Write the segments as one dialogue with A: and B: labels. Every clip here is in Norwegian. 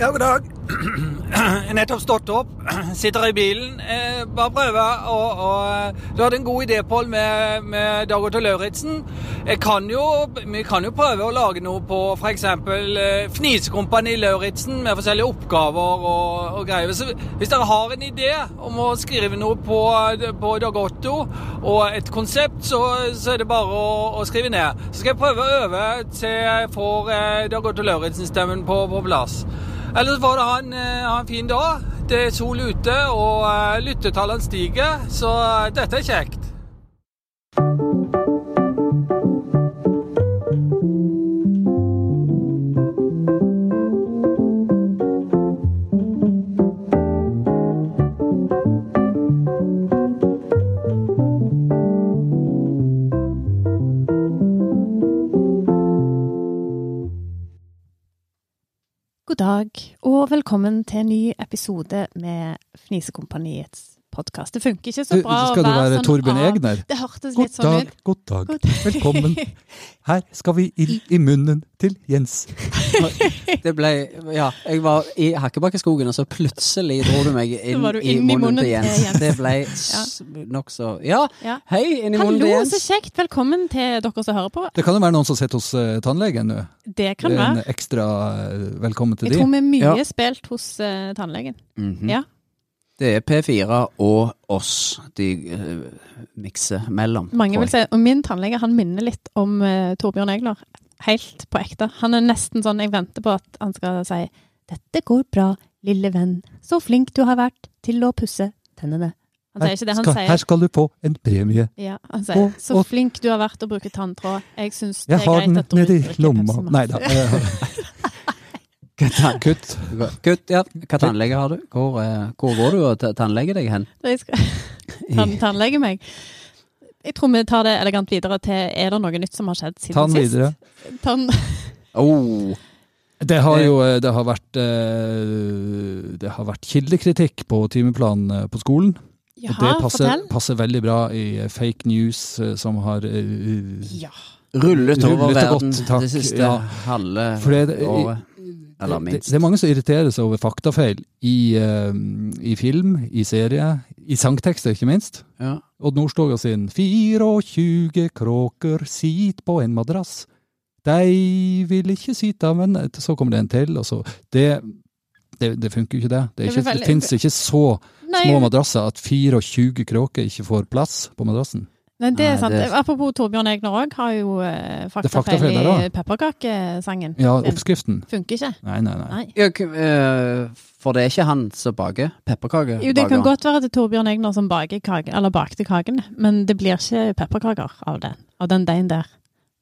A: Ja, god dag. Jeg har Nettopp stått opp, sitter i bilen. Eh, bare prøver å, å Du hadde en god idé, Pål, med, med Dag Otto Lauritzen. Jeg kan jo, vi kan jo prøve å lage noe på f.eks. Eh, Fnisekompani Lauritzen med forskjellige oppgaver og, og greier. Så hvis dere har en idé om å skrive noe på, på Dag Otto og et konsept, så, så er det bare å, å skrive ned. Så skal jeg prøve å øve til jeg får eh, Dag Otto Lauritzen-stemmen på, på plass. Ellers får du ha en, eh, ha en fin dag. Det er sol ute, og eh, lyttetallene stiger, så eh, dette er kjekt.
B: God dag, og velkommen til en ny episode med Fnisekompaniets podkast. Det funker ikke så
C: Du,
B: bra
C: skal
B: å
C: du
B: være
C: være
B: sånn
C: Torbjørn
B: av-
C: Egner?
B: Det hørtes
C: God
B: litt sånn
C: dag,
B: ut.
C: god dag,
B: God dag.
C: velkommen. Her skal vi ild i munnen til Jens.
D: Det ble, ja, jeg var i Hakkebakkeskogen, og så plutselig dro du meg inn,
B: var du
D: i
B: inn i
D: munnen
B: munnen
D: til Jens.
B: til Jens.
D: Det ble s- nokså Ja,
B: Ja.
D: hei, inn i munnen til
B: Hallo, så
D: Jens.
B: kjekt. Velkommen til dere som hører på.
C: Det kan jo være noen som sitter hos eh, tannlegen nå.
B: Det kan
C: En
B: være.
C: ekstra eh, velkommen til
B: Jeg tror
C: de.
B: vi er mye
D: Ja.
B: spilt hos eh, tannlegen.
D: Mhm.
B: Ja.
D: Det er P4 og oss de eh, mikser mellom.
B: Mange
D: tror
B: vil
D: jeg.
B: si, og min tannlege han minner litt om eh, Torbjørn Egner. Helt på ekte. Han er nesten sånn jeg venter på at han skal si 'Dette går bra, lille venn. Så flink du har vært til å pusse tennene'. Han sier ikke det. Han
C: skal,
B: sier
C: her skal du få en premie.
B: Ja, han sier
C: Og-
B: 'så
C: og-
B: flink du har vært å bruke tanntråd'. Jeg syns det
C: Jeg
B: er
C: har den
B: greit at du
C: nedi
B: drikker
C: lomma.
B: Pepsi Max.
C: Nei da. eh,
D: Hva
C: Kutt.
D: tann- Kutt, ja. Hva tannlege har du? Hvor, eh, hvor går du og t- tannleger deg hen?
B: Jeg skal tann, tannlegge meg. Jeg tror vi tar det elegant videre til er det noe nytt som har skjedd siden
C: Tann
B: sist?
C: videre.
B: Tann
D: Oh,
C: Det har jo eh, det har vært, eh, det har vært kildekritikk på timeplan eh, på skolen. Og det
B: Jaha,
C: passer,
B: fortell.
C: passer veldig bra i eh, fake news eh, som har eh,
B: Ja.
D: rullet over
C: Rullet og
D: verden
C: godt, takk.
D: det siste
C: Ja.
D: halve
C: For det-
D: året. Eller
C: det,
D: minst.
C: det er mange som irriterer seg over faktafeil i, eh, i film, i serie, i sangtekster ikke minst.
D: Ja.
C: Odd Nordstoga sin 24 kråker sit på en madrass. De vil ikke sita, men så kommer det en til, og så Det, det, det funker jo ikke, det. Det, er
B: Det blir
C: ikke,
B: veldig-
C: det fins ikke så
B: Nei,
C: små madrasser at 24 kråker ikke får plass på madrassen.
B: nei, det er
D: Nei,
B: sant.
D: det-
B: Apropos Torbjørn Egner òg, har jo eh, faktafeil
C: faktafeil der
B: i
C: også.
B: pepperkakesangen.
C: Ja,
B: Den
C: oppskriften.
B: Funker ikke.
C: Nei, nei, nei.
B: Nei.
D: Ja, k- eh, for det er ikke han som baker pepperkaker?
B: Jo, det
D: baker
B: kan
D: han.
B: godt være at det er Torbjørn Egner som baker kake, eller bakte kaken, men det blir ikke pepperkaker av den, av den deigen der.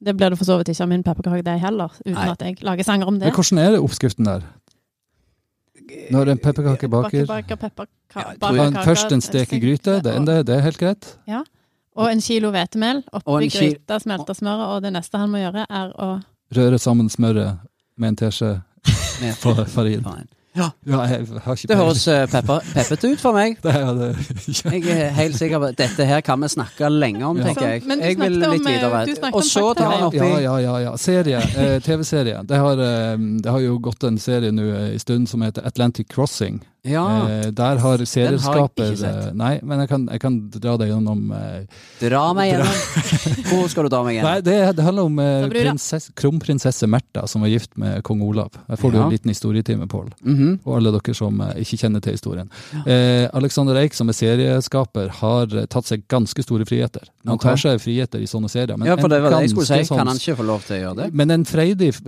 B: Det blir det for så vidt ikke av min pepperkake deg heller, uten
D: Nei.
B: at jeg lager sanger om det.
C: Men hvordan er det oppskriften der? Når en pepperkake baker
B: baker pepperka-
D: Ja, jeg tror-
C: Ja,
B: bakerkaker,
C: Først en stek i gryte, det, det, det er helt greit.
B: Og en kilo hvetemel.
D: Og
B: Oppi
D: en kil-
B: gryta smelter smøret, og det neste han må gjøre, er å
C: Røre sammen smøret med en teskje
D: Med
C: fa- farin.
D: faen.
C: Ja, jeg har ikke
D: Det høres eh, pepper, peppete ut for meg.
C: Det er det. Ja.
D: Jeg er helt sikker på at Dette her kan vi snakke lenge om,
C: Ja.
D: tenker jeg.
B: Sånn, men du
D: jeg vil
B: snakket om,
D: litt
B: eh,
D: videre.
B: du snakket
D: Og
B: om
D: så tar han
B: fakta.
D: oppi
C: Ja, ja, ja. ja. Serie. Eh, TV-serie. Det, har, eh, det har jo gått en serie nå eh, en stund som heter Atlantic Crossing.
D: Ja,
C: Eh, der har serieskaper
D: Ah. ikke sett.
C: eh, Nei, men jeg kan, jeg kan dra deg gjennom eh,
D: dra meg gjennom. Hvor skal du dra meg
C: Nei,
D: gjennom?
C: det, det handler om eh,
B: Da blir det-
C: prinsess, kronprinsesse Märtha som var gift med kong Olav. Her får du
D: Ja.
C: en liten historietime, Pål.
D: Mhm.
C: og alle dere som eh, ikke kjenner til historien. Eh, Alexander Eik, som er serieskaper, har eh, tatt seg ganske store friheter. Man
D: Ok.
C: tar seg friheter i sånne serier, men
D: Ja, for
C: en
D: det var det jeg skulle
C: ganske
D: si. Kan han
C: sånn-
D: ikke få lov til å gjøre det?
C: men en freidig f-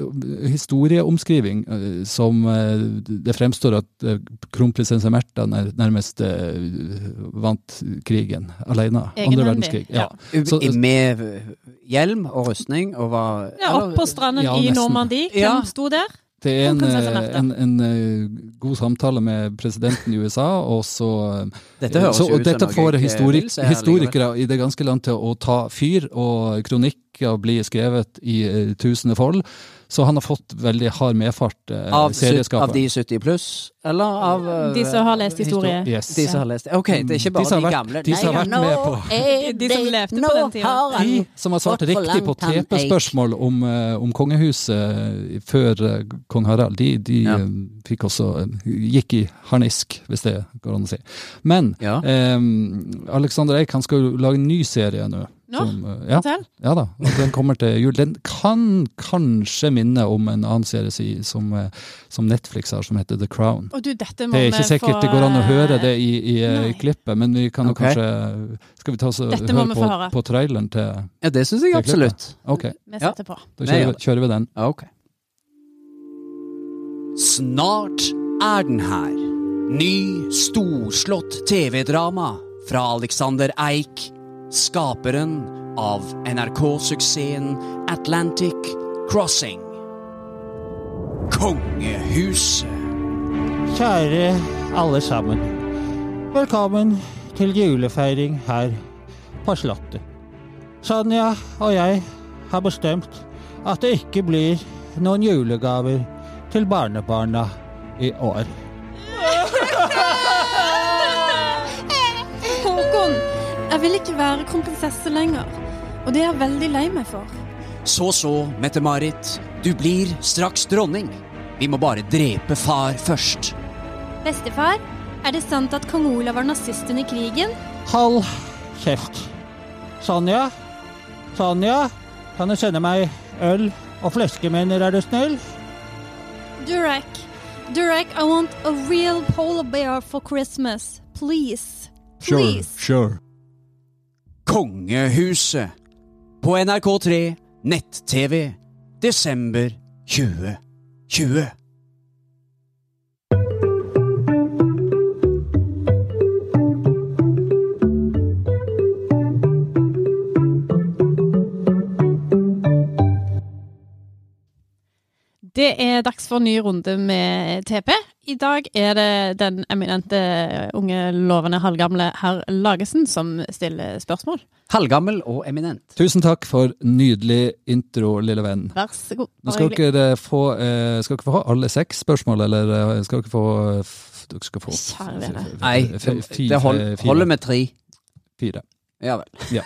C: historieomskriving eh, som eh, det fremstår at eh, kronprinsesse Märtha nær- nærmest eh, vant krigen alene. Andre verdenskrig. Ja. Så-
D: I- Med eh, hjelm og rustning og var
B: Ja, opp på stranden
C: Ja,
B: i
C: nesten.
B: Normandie. Hvem
D: Ja.
B: sto der?
C: Det er en,
B: Kronprinsesse
C: eh,
B: Märtha.
C: en, en eh, god samtale med presidenten i USA, og så eh,
D: Dette høres
C: så,
D: jo
C: og
D: ut som
C: dette
D: noe
C: får
D: jeg eh,
C: historik,
D: vil se her likevel.
C: historikere i det ganske land til å ta fyr, og kronikker blir skrevet i eh, tusende fold. Så han har fått veldig hard medfart, eh,
D: Av, sytt- av
C: serieskaperen.
D: de 70 pluss, eller av eh,
B: De som har lest historie.
C: Yes.
D: De som har lest det. Ok, det er ikke bare
C: De som
D: Mm. de,
C: har vært-
D: gamle.
C: de som har vært med på-
B: De som levde på den tiden.
C: De som har svart
E: Fått for
C: riktig på
E: langt, han eik.
C: TP-spørsmål om, eh, om kongehuset eh, før eh, kong Harald, de, de
D: Ja.
C: eh, fikk også eh, gikk i harnisk, hvis det går an å si. Men
D: Ja.
C: eh, Alexander Eik han skal jo lage en ny serie nå.
B: Nå?
C: som, eh, ja,
B: Fortell.
C: ja da, og den kommer til jul. Den kan kanskje minne om en annen serie si- som, eh, som Netflix har, som heter The Crown.
B: Og du, dette må
C: Det er ikke
B: vi
C: sikkert
B: få, eh,
C: det går an å høre det i, i,
B: Nei.
C: i klippet, men vi kan jo
D: Ok.
C: kanskje eh, Skal vi ta oss og
B: Dette må
C: høre
B: vi få
C: på,
B: høre.
C: på traileren til
D: Ja, det syns jeg
C: Det er klart,
D: absolutt.
C: Ok,
B: eh, Vi setter på.
C: da
D: Nei, ja.
C: kjører, vi- kjører vi den.
D: Ja, Ok.
E: Snart er den her. Ny storslått TV-drama fra Alexander Eik, skaperen av NRK-suksessen Atlantic Crossing. Kongehuset.
F: Kjære alle sammen. Velkommen til julefeiring her på Slottet. Sonja og jeg har bestemt at det ikke blir noen julegaver til barnebarna i år.
B: Håkon, jeg vil ikke være kronprinsesse lenger. Og det er jeg veldig lei meg for.
E: Så så, Mette-Marit. Du blir straks dronning. Vi må bare drepe far først.
B: Bestefar, er det sant at kong Olav var nazist under krigen?
F: Hold kjeft. Sonja? Sonja? Kan du sende meg øl og fleskemenner, er du snill?
B: Durek, Durek, I want a real polar bear for Christmas. Please. Please.
C: sure.
E: Kongehuset. På NRK3 nett-TV desember 2020.
B: Det er dags for en ny runde med TP. I dag er det den eminente unge, lovende, halvgamle herr Lagesen som stiller spørsmål.
D: Halvgammel og eminent.
C: Tusen takk for nydelig intro, lille venn.
B: Vær så god.
C: Nå skal dere få, eh, skal dere få alle seks spørsmål, eller eh, skal dere få eh, f- Dere skal få
B: Kjære vene.
C: f- f-
D: Nei,
C: f-
D: det
C: fi-
D: det hold,
C: f- fire.
D: holder med tre.
C: Fire.
D: Ja vel.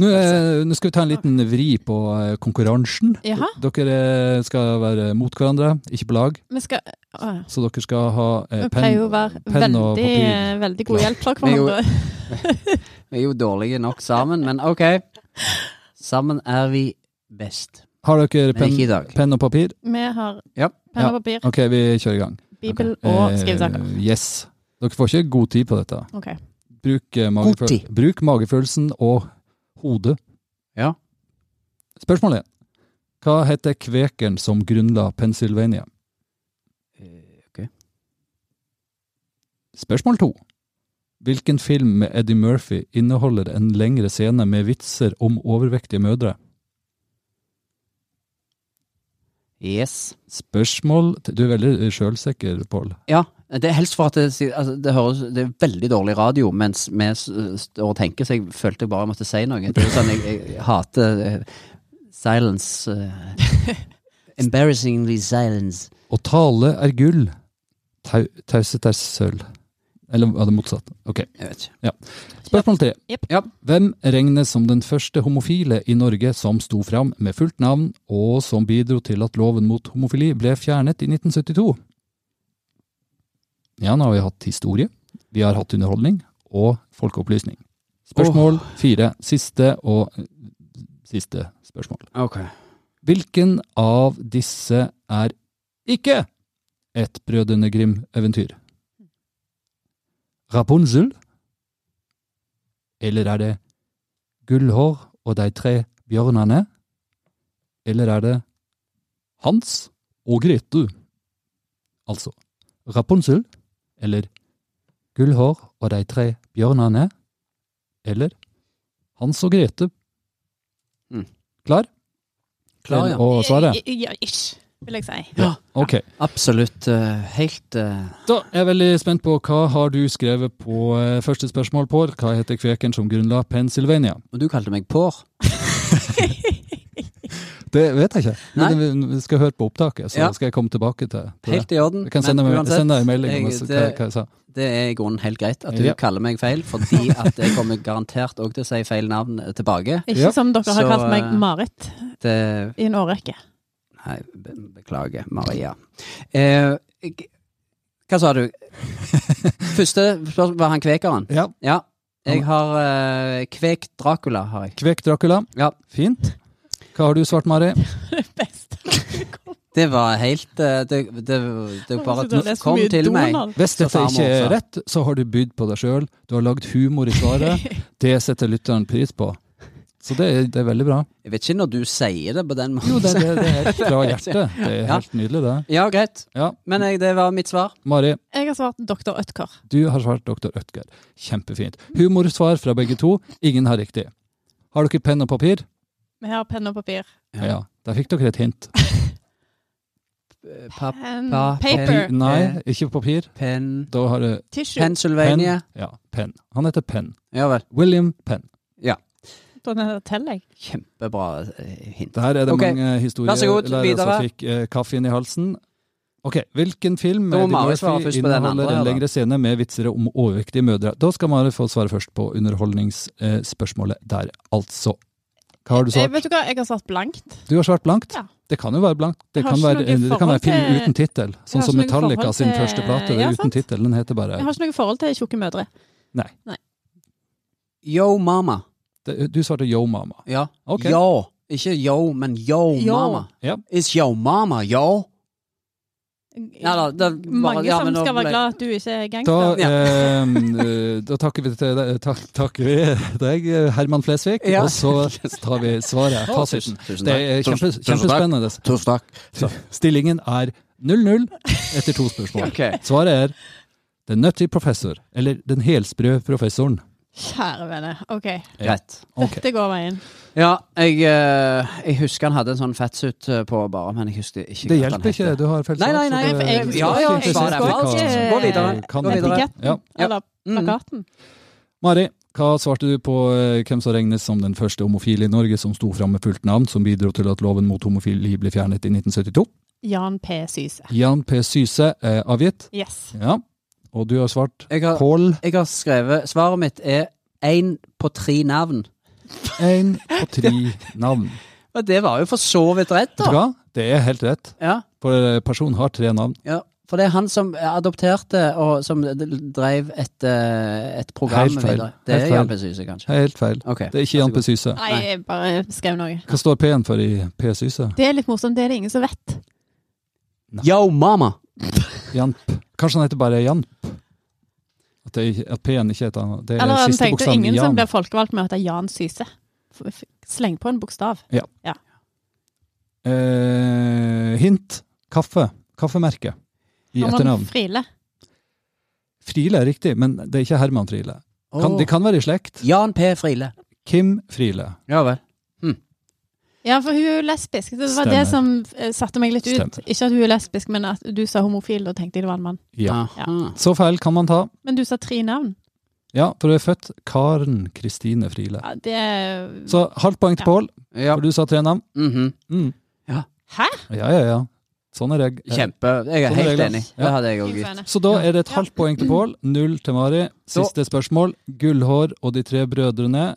C: Nå, eh, nå skal vi ta en liten vri på eh, konkurransen.
B: Jaha.
C: Dere eh, skal være mot hverandre, ikke på lag.
B: Vi skal Åh,
C: Så dere skal ha eh,
B: Vi pleier jo å
C: penn
B: være
C: penn og
B: veldig,
C: papir.
B: veldig god hjelp for
D: Vi er jo-
B: hverandre.
D: Vi er jo dårlige nok sammen, men ok. Sammen er vi best.
C: Har dere
D: Men ikke i
C: penn
D: dag.
C: penn og papir?
B: Vi har
D: Ja.
B: penn og papir,
C: Ok, vi kjører i gang.
B: bibel
C: Ok.
B: og
C: Eh,
B: skrivesaker.
C: Yes. Dere får ikke god tid på dette.
B: Ok.
C: Bruk, eh, mageføl-
D: tid.
C: Bruk magefølelsen og hodet.
D: Ja.
C: Spørsmål én. Hva heter kvekeren som grunnla Pennsylvania?
D: ok.
C: Spørsmål to. Hvilken film med Eddie Murphy inneholder en lengre scene med vitser om overvektige mødre?
D: Yes.
C: Spørsmål t- Du er veldig eh, sjølsikker, Pål.
D: Ja. Det er helst for at det, si- altså, det høres Det er veldig dårlig radio mens vi s- står og tenker, så jeg følte jeg bare måtte si noe. Det er jo sånn jeg, jeg hater eh, silence. eh, embarrassingly silence.
C: Å tale er gull, tau- taushet er sølv. Eller var det motsatt? Ok.
D: Jeg vet ikke.
C: Spørsmål tre.
B: Jepp.
D: Ja.
C: Hvem regnes som den første homofile i Norge som sto fram med fullt navn, og som bidro til at loven mot homofili ble fjernet i 1972? Ja, nå har vi hatt historie, vi har hatt underholdning og folkeopplysning. Spørsmål fire. Siste og siste spørsmål.
D: Ok.
C: Hvilken av disse er ikke et Brødrene Grim-eventyr? Rapunzel? Eller er det Gullhår og de tre bjørnene? Eller er det Hans og Grete? Altså Rapunzel eller Gullhår og de tre bjørnene? Eller Hans og Grete?
D: Mm.
C: Klar?
D: Klar,
C: til
D: ja.
C: å svare?
B: I- i- Ja, ish, vil jeg si.
C: Ok.
D: Absolutt eh, helt eh,
C: Da er jeg veldig spent på hva har du skrevet på eh, første spørsmål, Pål. Hva heter kveken som grunnla Pennsylvania?
D: Og du kalte meg Pår.
C: Det vet jeg ikke. Men vi skal høre på opptaket, så
D: Ja.
C: skal jeg komme tilbake til, til
D: Helt i orden.
C: det. Jeg kan sende,
D: men
C: meg,
D: uansett,
C: sende deg en melding om
D: jeg-
C: hva,
D: det-
C: hva jeg sa.
D: Det er i grunnen helt greit at du
C: Ja.
D: kaller meg feil, fordi at jeg kommer garantert òg til å si feil navn eh, tilbake.
B: Ikke
C: Ja.
B: som dere har
D: Så,
B: kalt meg
D: eh,
B: Marit
D: Det
B: i en årrekke.
D: Nei, be beklager, Maria. Eh, g- hva sa du? Første spørsmål var han kvekeren.
C: Ja.
D: Ja. Jeg har eh, kvekt Dracula, har jeg.
C: Kvek Dracula.
D: Ja.
C: Fint. Hva har du svart, Mari?
B: Best.
D: Det var helt eh, Det, det, det var bare at nå kom til meg.
C: Hvis
D: Så
C: dette
D: samme
C: ikke er
D: også.
C: rett, så har du bydd på deg sjøl. Du har lagd humor i svaret. Det setter lytteren pris på. Så det er, det er veldig bra.
D: Jeg vet ikke når du sier det på den måten.
C: Jo, det, det, det er helt fra hjertet. Det er
D: Ja.
C: helt nydelig, det.
D: Ja, greit.
C: Ja.
D: Men jeg, det var mitt svar.
C: Mari,
B: Jeg har svart doktor Ødkar.
C: du har svart dr. Ødger. Kjempefint. Humorsvar fra begge to. Ingen har riktig. Har dere penn og papir?
B: Vi har penn og papir.
C: Ja. Der fikk dere et hint.
D: Pa
B: Pen,
D: Pa-
B: paper,
C: Nei, ikke papir.
D: pen
C: Da har du
B: tissue.
C: penn.
D: Pennsylvania.
C: Ja, penn. Han heter Penn.
D: Ja vel.
C: William Penn.
B: Da teller jeg.
D: Kjempebra eh, hint.
C: Der er det
D: Ok.
C: mange historier
D: Vær så god,
C: lærere
D: videre.
C: som fikk eh, kaffe inn i halsen. Ok, Hvilken film
D: Da må
C: med
D: Mari
C: Eddie
D: svare
C: Murphy
D: først på den andre
C: inneholder
D: her,
C: en
D: da.
C: lengre scene med vitser om overvektige mødre? Da skal Mari få svare først på underholdningsspørsmålet der, altså. Hva har du
B: Eh,
C: svart?
B: vet du hva, jeg har svart blankt.
C: Du har svart blankt.
B: Ja.
C: Det kan jo være blankt.
B: Jeg
C: Det
B: har
C: kan
B: ikke
C: være,
B: noe
C: det kan være
B: forhold
C: film
B: til-
C: uten tittel.
B: har
C: Sånn
B: ikke
C: som
B: noe
C: Metallica
B: forhold
C: sin
B: til-
C: første plate. Det
B: Ja,
C: er
B: sant.
C: uten tittel. Den heter bare
B: Jeg har ikke noe forhold til tjukke mødre.
D: Yo mama.
C: Det- Du svarte Yo Mama.
D: Ja.
C: Ok.
D: Yo. Ikke yo, men yo,
B: Yo.
D: mama.
C: Ja.
D: Is yo mama yo? Ja, da, det, er bare,
B: Mange
D: ja, men
B: som
D: nå
B: skal være
D: ble-
B: glad at du ikke er
C: Da,
B: gangster.
D: Ja.
C: ehm, eh, da takker vi til deg, tak, takker vi deg eh, Herman Flesvig,
D: Ja.
C: og så tar vi svaret, fasiten.
D: Tusen
C: Det er
D: takk.
C: kjempe,
D: Tusen- tusen takk.
C: kjempespennende.
D: Tusen takk.
C: Stillingen er 0-0 etter to spørsmål.
D: Ok.
C: Svaret er The Nutty Professor, eller Den helsprø professoren.
B: Kjære vene. OK,
D: Greit.
C: Ok.
B: dette går veien.
D: Ja, jeg, eh, jeg husker han hadde en sånn fettsuit eh, på bare, men jeg husker
C: Det
D: ikke hva han
C: hjelper ikke,
D: heter.
C: du har feil
D: Nei,
C: så
D: nei, nei,
C: det-
B: for jeg-
C: det-
B: ja,
C: det-
B: ja,
C: det- det-
B: svar
C: det-
B: er feil.
C: det-
B: Gå videre,
C: kan-
D: gå videre.
B: Etiketten,
C: Ja.
B: eller
D: Mm.
B: plakaten.
C: Mari, hva svarte du på eh, hvem som regnes som den første homofile i Norge som sto fram med fullt navn, som bidro til at loven mot homofili ble fjernet i 1972?
B: Jan P. Syse.
C: Jan P. Syse er avgitt.
B: Yes.
C: Ja. Og du har svart
D: Jeg har,
C: Pål
D: jeg har skrevet Svaret mitt er én på tre navn.
C: én på tre navn.
D: Og det var jo for så vidt
C: Vet
D: rett,
C: du
D: da.
C: hva? Det er helt rett,
D: Ja,
C: for eh, personen har tre navn.
D: ja. For det er han som adopterte og som drev et, eh, et program
C: Helt feil.
D: videre. Det
C: Helt
D: er
C: feil.
D: Jan P. Syse, kanskje.
C: Helt feil.
D: Ok.
C: Det er ikke Jan P. Syse.
B: Nei, jeg bare skrev noe.
C: Hva står P-en for i P. Syse?
B: Det er litt morsomt, det er det ingen som vet.
D: Yo, mama!
C: Jamp. Kanskje han heter bare Jamp? At, det ikke- at P-en ikke heter han. Det er
B: Eller han
C: siste
B: tenkte
C: bokstaven i
B: ingen som
C: Jan.
B: blir folkevalgt med å hete Jan Syse. F- f- Sleng på en bokstav.
C: Eh, hint. Kaffe. Kaffemerke. I
B: Herman
C: etternavn.
B: Friele.
C: Friele er riktig, men det er ikke Herman Friele. Kan,
D: Åh.
C: de kan være i slekt.
D: Jan P. Friele.
C: Kim Friele.
D: Ja vel.
B: Ja, for hun er jo lesbisk. Det var
C: Stemmer.
B: det som eh, satte meg litt ut.
C: Stemmer.
B: Ikke at hun er lesbisk, men at du sa homofil, og tenkte jeg det var en mann.
C: Ja.
D: Aha.
C: Så feil kan man ta.
B: Men du sa tre navn.
C: Ja, for du er født Karen Kristine Friele.
B: Ja, det er
C: Så halvt poeng til
B: Ja.
C: Pål,
D: Ja.
C: for du sa tre navn.
D: mhm.
C: Mm.
D: Ja.
B: Hæ?
C: Ja, ja, ja. Sånn er jeg.
D: Kjempe. Jeg
C: Sånn er
D: er helt
C: reglene.
D: enig.
C: Ja.
D: Det hadde jeg òg
B: Fint,
D: gitt.
B: Sveine.
C: Så da er det et
B: Ja.
C: halvt poeng til Pål, null til Mari. Siste spørsmål. Gullhår og de tre brødrene.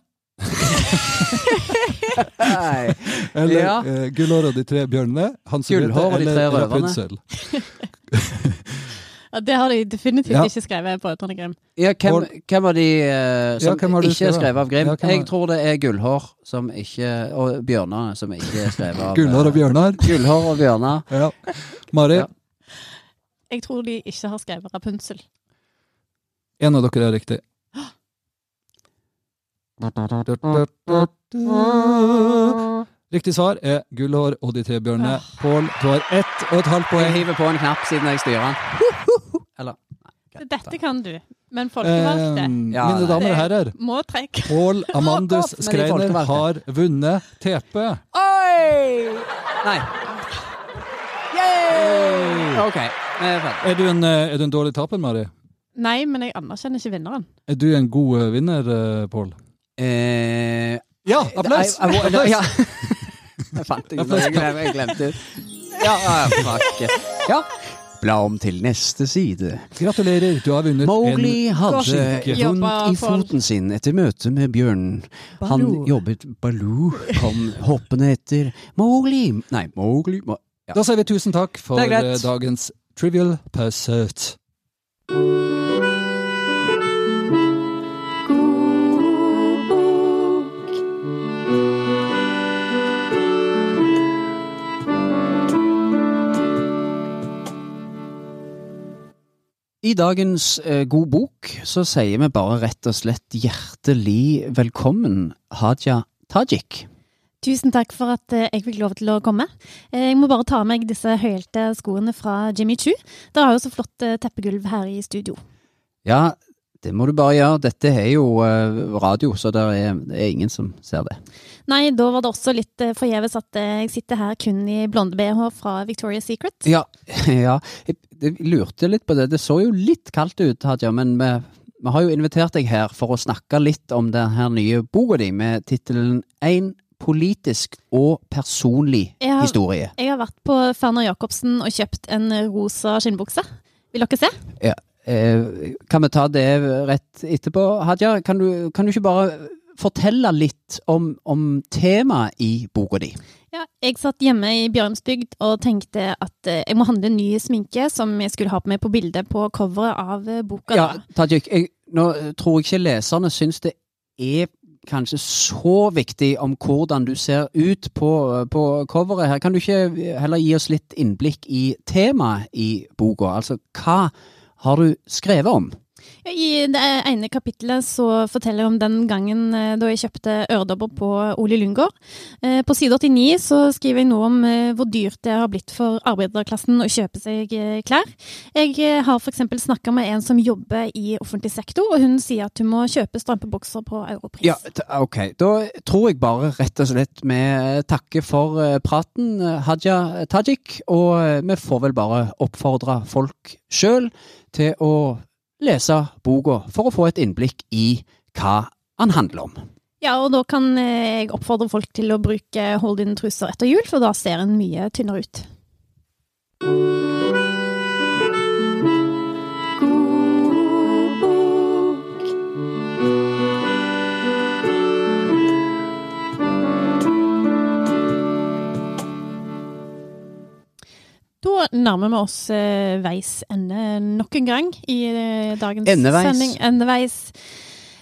D: Nei.
C: Eller
D: Ja.
C: eh, Gullhår og de tre bjørnene. Hans
D: Gullhår og de tre røverne.
B: Ja, det har de definitivt
C: Ja.
B: ikke skrevet på Trondheim Grim.
D: Ja, hvem,
C: Bård.
D: hvem av de eh, som
C: hvem har du
D: ikke er
C: skrevet?
D: skrevet av Grim?
C: Ja, hvem har-
D: jeg tror det er Gullhår som ikke Og Bjørnar som ikke er skrevet av eh,
C: Gullhår og bjørnar.
D: Gullhår og Bjørnar.
C: Ja. Mari,
D: Ja.
B: Jeg tror de ikke har skrevet Rapunsel.
C: en av dere er riktig. Riktig svar er Gullhår og de tre bjørnene. Pål, du har ett og et halvt
D: Jeg
C: poeng.
D: hiver på en knapp siden jeg styrer den. Eller
B: Dette kan du, men
C: Eh,
B: folkevalgte
D: Ja,
C: mine
D: nei.
C: damer og herrer,
B: må trekke.
C: Pål Amandus
D: Fuck off med de
C: Skreiner
D: folkevalgte.
C: har vunnet TP.
D: Oi! Nei. Yay! OK. Vi er ferdig.
C: Er du en, eh, er du en dårlig taper, Mari?
B: Nei, men jeg anerkjenner ikke vinneren.
C: Er du en god eh, vinner, eh, Pål?
D: Eh,
C: Ja,
D: I- I- I- ja. Jeg fant ikke noe, jeg glem- jeg glemte det. Ja, ja, fuck it. Ja. Bla om til neste side.
C: Gratulerer, du har vunnet
D: Mowgli hadde
C: skikke.
B: Jobba
D: vondt i
B: for-
D: foten sin etter møtet med bjørnen. Han
B: Baloo.
D: jobbet Baloo kom hoppende etter Mowgli Nei, Mowgli Mo-
C: en Da sier vi tusen takk for
D: Det er greit.
C: eh, dagens Trivial Pursuit.
D: I dagens eh, God bok så sier vi bare rett og slett hjertelig velkommen, Hadia Tajik.
B: Tusen takk for at eh, jeg fikk lov til å komme. Eh, Jeg må bare ta av meg disse høyhælte skoene fra Jimmy Choo. Dere har jo så flott eh, teppegulv her i studio.
D: Ja, det må du bare gjøre. Dette er jo eh, radio, så det er, det er ingen som ser det.
B: Nei, da var det også litt eh, forgjeves at eh, jeg sitter her kun i blonde-BH fra Victoria's Secret.
D: Ja, ja. Jeg, jeg lurte litt på det. Det så jo litt kaldt ut, Hadia, men vi, vi har jo invitert deg her for å snakke litt om denne nye boka di med tittelen «En politisk og personlig
B: Ja.
D: historie'.
B: Jeg har vært på Ferner Jacobsen og kjøpt en rosa skinnbukse. Vil dere se?
D: Eh, kan vi ta det rett etterpå? Hadia, kan du, kan du ikke bare fortelle litt om, om temaet i boka di?
B: Ja, jeg satt hjemme i Bjørnsbygd og tenkte at eh, jeg må handle ny sminke som jeg skulle ha på meg på bildet på coveret av eh, boka.
D: Ja,
B: da.
D: Tajik, jeg, nå tror jeg ikke leserne syns det er kanskje så viktig om hvordan du ser ut på, på coveret her. Kan du ikke heller gi oss litt innblikk i temaet i boka? Altså, hva har du skrevet om?
B: I det ene kapitlet så forteller jeg om den gangen eh, da jeg kjøpte øredobber på Ole Lundgaard. Eh, På side 89 så skriver jeg noe om eh, hvor dyrt det har blitt for arbeiderklassen å kjøpe seg eh, klær. Jeg eh, har f.eks. snakka med en som jobber i offentlig sektor, og hun sier at hun må kjøpe strømpebukser på europris.
D: Ja, t- ah, ok. Da tror jeg bare rett og slett vi takker for eh, praten, eh, Hadia Tajik. Og eh, vi får vel bare oppfordre folk sjøl til å lese boka for å få et innblikk i hva han handler om.
B: Ja, og da kan eh, jeg oppfordre folk til å bruke eh, hold-in-truser etter jul, for da ser en mye tynnere ut. Da nærmer vi oss eh, veis ende nok en gang i eh, dagens
D: Endeveis.
B: sending. Endeveis.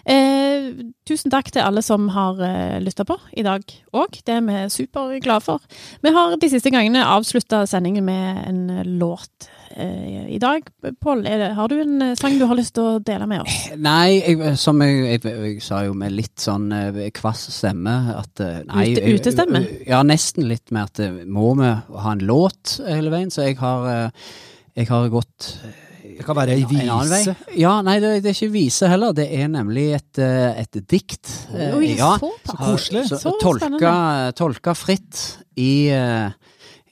B: Eh, tusen takk til alle som har eh, lytta på i dag òg. Det er vi superglade for. Vi har de siste gangene avslutta sendingen med en eh, låt eh, i dag. Pål, er det- har du en eh, sang du har lyst til å dele med oss?
D: Nei, jeg, som jeg, jeg, jeg sa jo med litt sånn eh, kvass stemme at eh, nei,
B: Ute-
D: jeg- eh,
B: utestemme?
D: Ja, nesten litt med at eh, må vi ha en låt hele veien? Så jeg har, eh, jeg har gått eh,
C: Det kan være ei
D: En annen vei.
C: vise.
D: Ja, nei, det, det er ikke vise heller. Det er nemlig et, eh, et dikt. eh,
B: Oi,
D: ja.
B: såpass.
C: koselig.
D: Så,
B: Så
D: tolka,
B: spennende.
D: tolka fritt i, eh,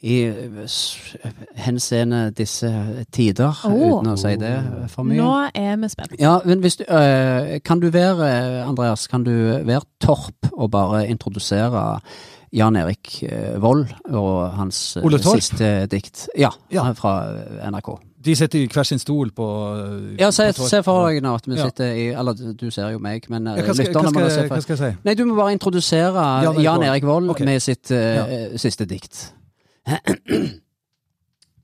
D: i s- henseende disse tider,
B: Åh.
D: uten å si det for mye.
B: Nå er vi spent.
D: Ja, men hvis du, eh, kan du være, eh, Andreas, kan du være Torp og bare introdusere Jan Erik eh, Vold og hans eh,
C: Ole Torp?
D: siste dikt? Ja,
C: Ja.
D: fra eh, NRK.
C: De sitter i hver sin stol på eh,
D: Ja, se,
C: på torg.
D: se for deg nå at vi
C: Ja.
D: sitter i Eller du ser jo meg, men eh,
C: Ja, hva, skal, hva,
D: lytterne må da se
C: skal, hva
D: for
C: skal jeg si?
D: Nei, du må bare introdusere
C: Erik
D: Jan
C: Vold.
D: Erik Vold
C: Ok.
D: med sitt eh, siste dikt.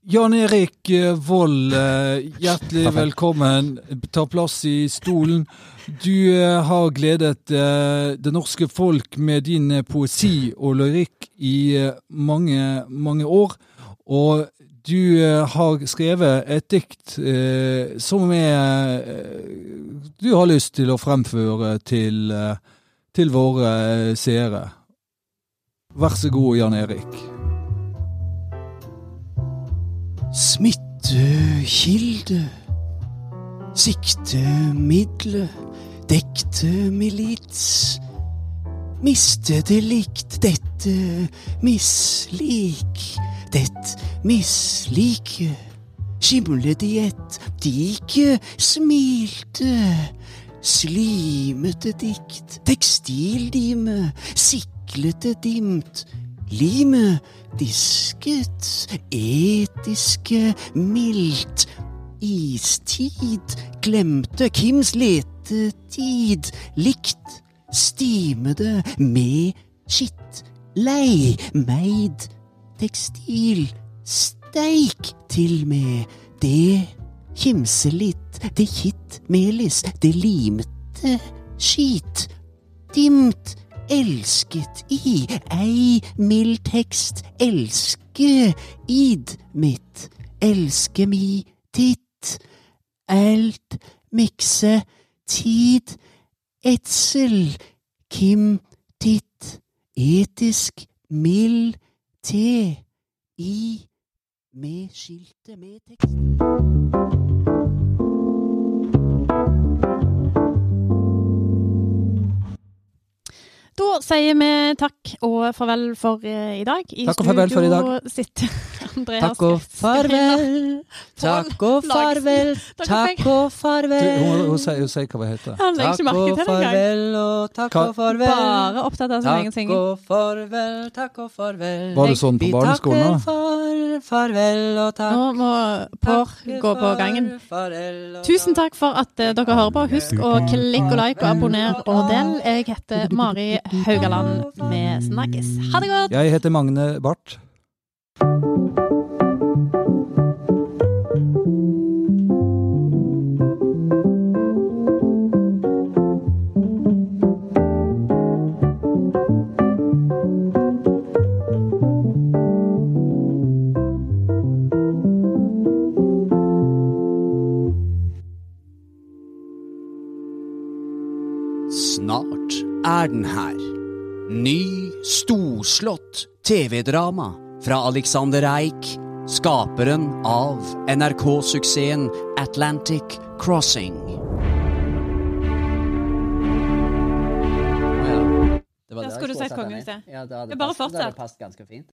C: Jan Erik eh, Vold, eh, hjertelig velkommen. Ta plass i stolen. Du eh, har gledet eh, det norske folk med din eh, poesi og lyrikk i eh, mange, mange år. Og du eh, har skrevet et dikt eh, som er eh, Du har lyst til å fremføre til, eh, til våre eh, seere. Vær så god, Jan Erik.
E: Smittekilde. Siktemiddel. Dekte milits. Mistedelikt. Dette mislik. Det mislike. Skimlediett. Dike smilte. Slimete dikt. Tekstildyme. Siklete dimt.
D: Limet disket, etiske, mildt. Istid glemte Kims letetid. Likt stimede med skitt. Lei meid tekstil. Steik til med det kimselitt, det kittmelis, det limte skit. Dimt elsket i, ei mild tekst, elske id mitt, elske mi titt. Alt mikse, tid, etsel, kim titt, etisk mild te, i, med skiltet med tekst.
B: Da sier vi takk og farvel for eh, i dag. I
G: Takk og farvel for i dag.
B: studio sitter Andreas
G: Takk og
B: Christian Steiner.
G: farvel. Takk og
B: Lagsen.
G: farvel.
B: Takk for meg.
G: Takk og
C: Du, hun, hun,
G: farvel.
C: sier, hun sier hva hun heter.
B: Han legger
G: Takk
B: ikke merke
G: og
B: til det engang.
G: farvel og takk
C: Hva-
G: og farvel.
B: Bare opptatt av sin egen
G: Takk
B: ting.
G: og farvel, takk og farvel.
C: Var det sånn på
G: Vi
C: barneskolen
G: takker
C: også?
G: for farvel og takk.
B: Nå må Pår
G: takker
B: gå på
G: for
B: gangen.
G: farvel og
B: Tusen takk for at eh, dere hører på. Husk å klikke og like og abonner og del. Jeg heter Mari Haugaland. Vi snakkes. Ha det godt!
C: Jeg heter Magne Barth.
D: Snart er den her. Ny, storslått TV-drama fra Alexander Eik, skaperen av NRK-suksessen Atlantic Crossing.
G: Det var der
B: Ja,
G: jeg
B: skulle du sagt
G: sette meg ned.
B: kongehuset?
G: Ja, det hadde
B: Jeg bare
G: passet- det hadde
B: fortsatt.
G: passet ganske fint.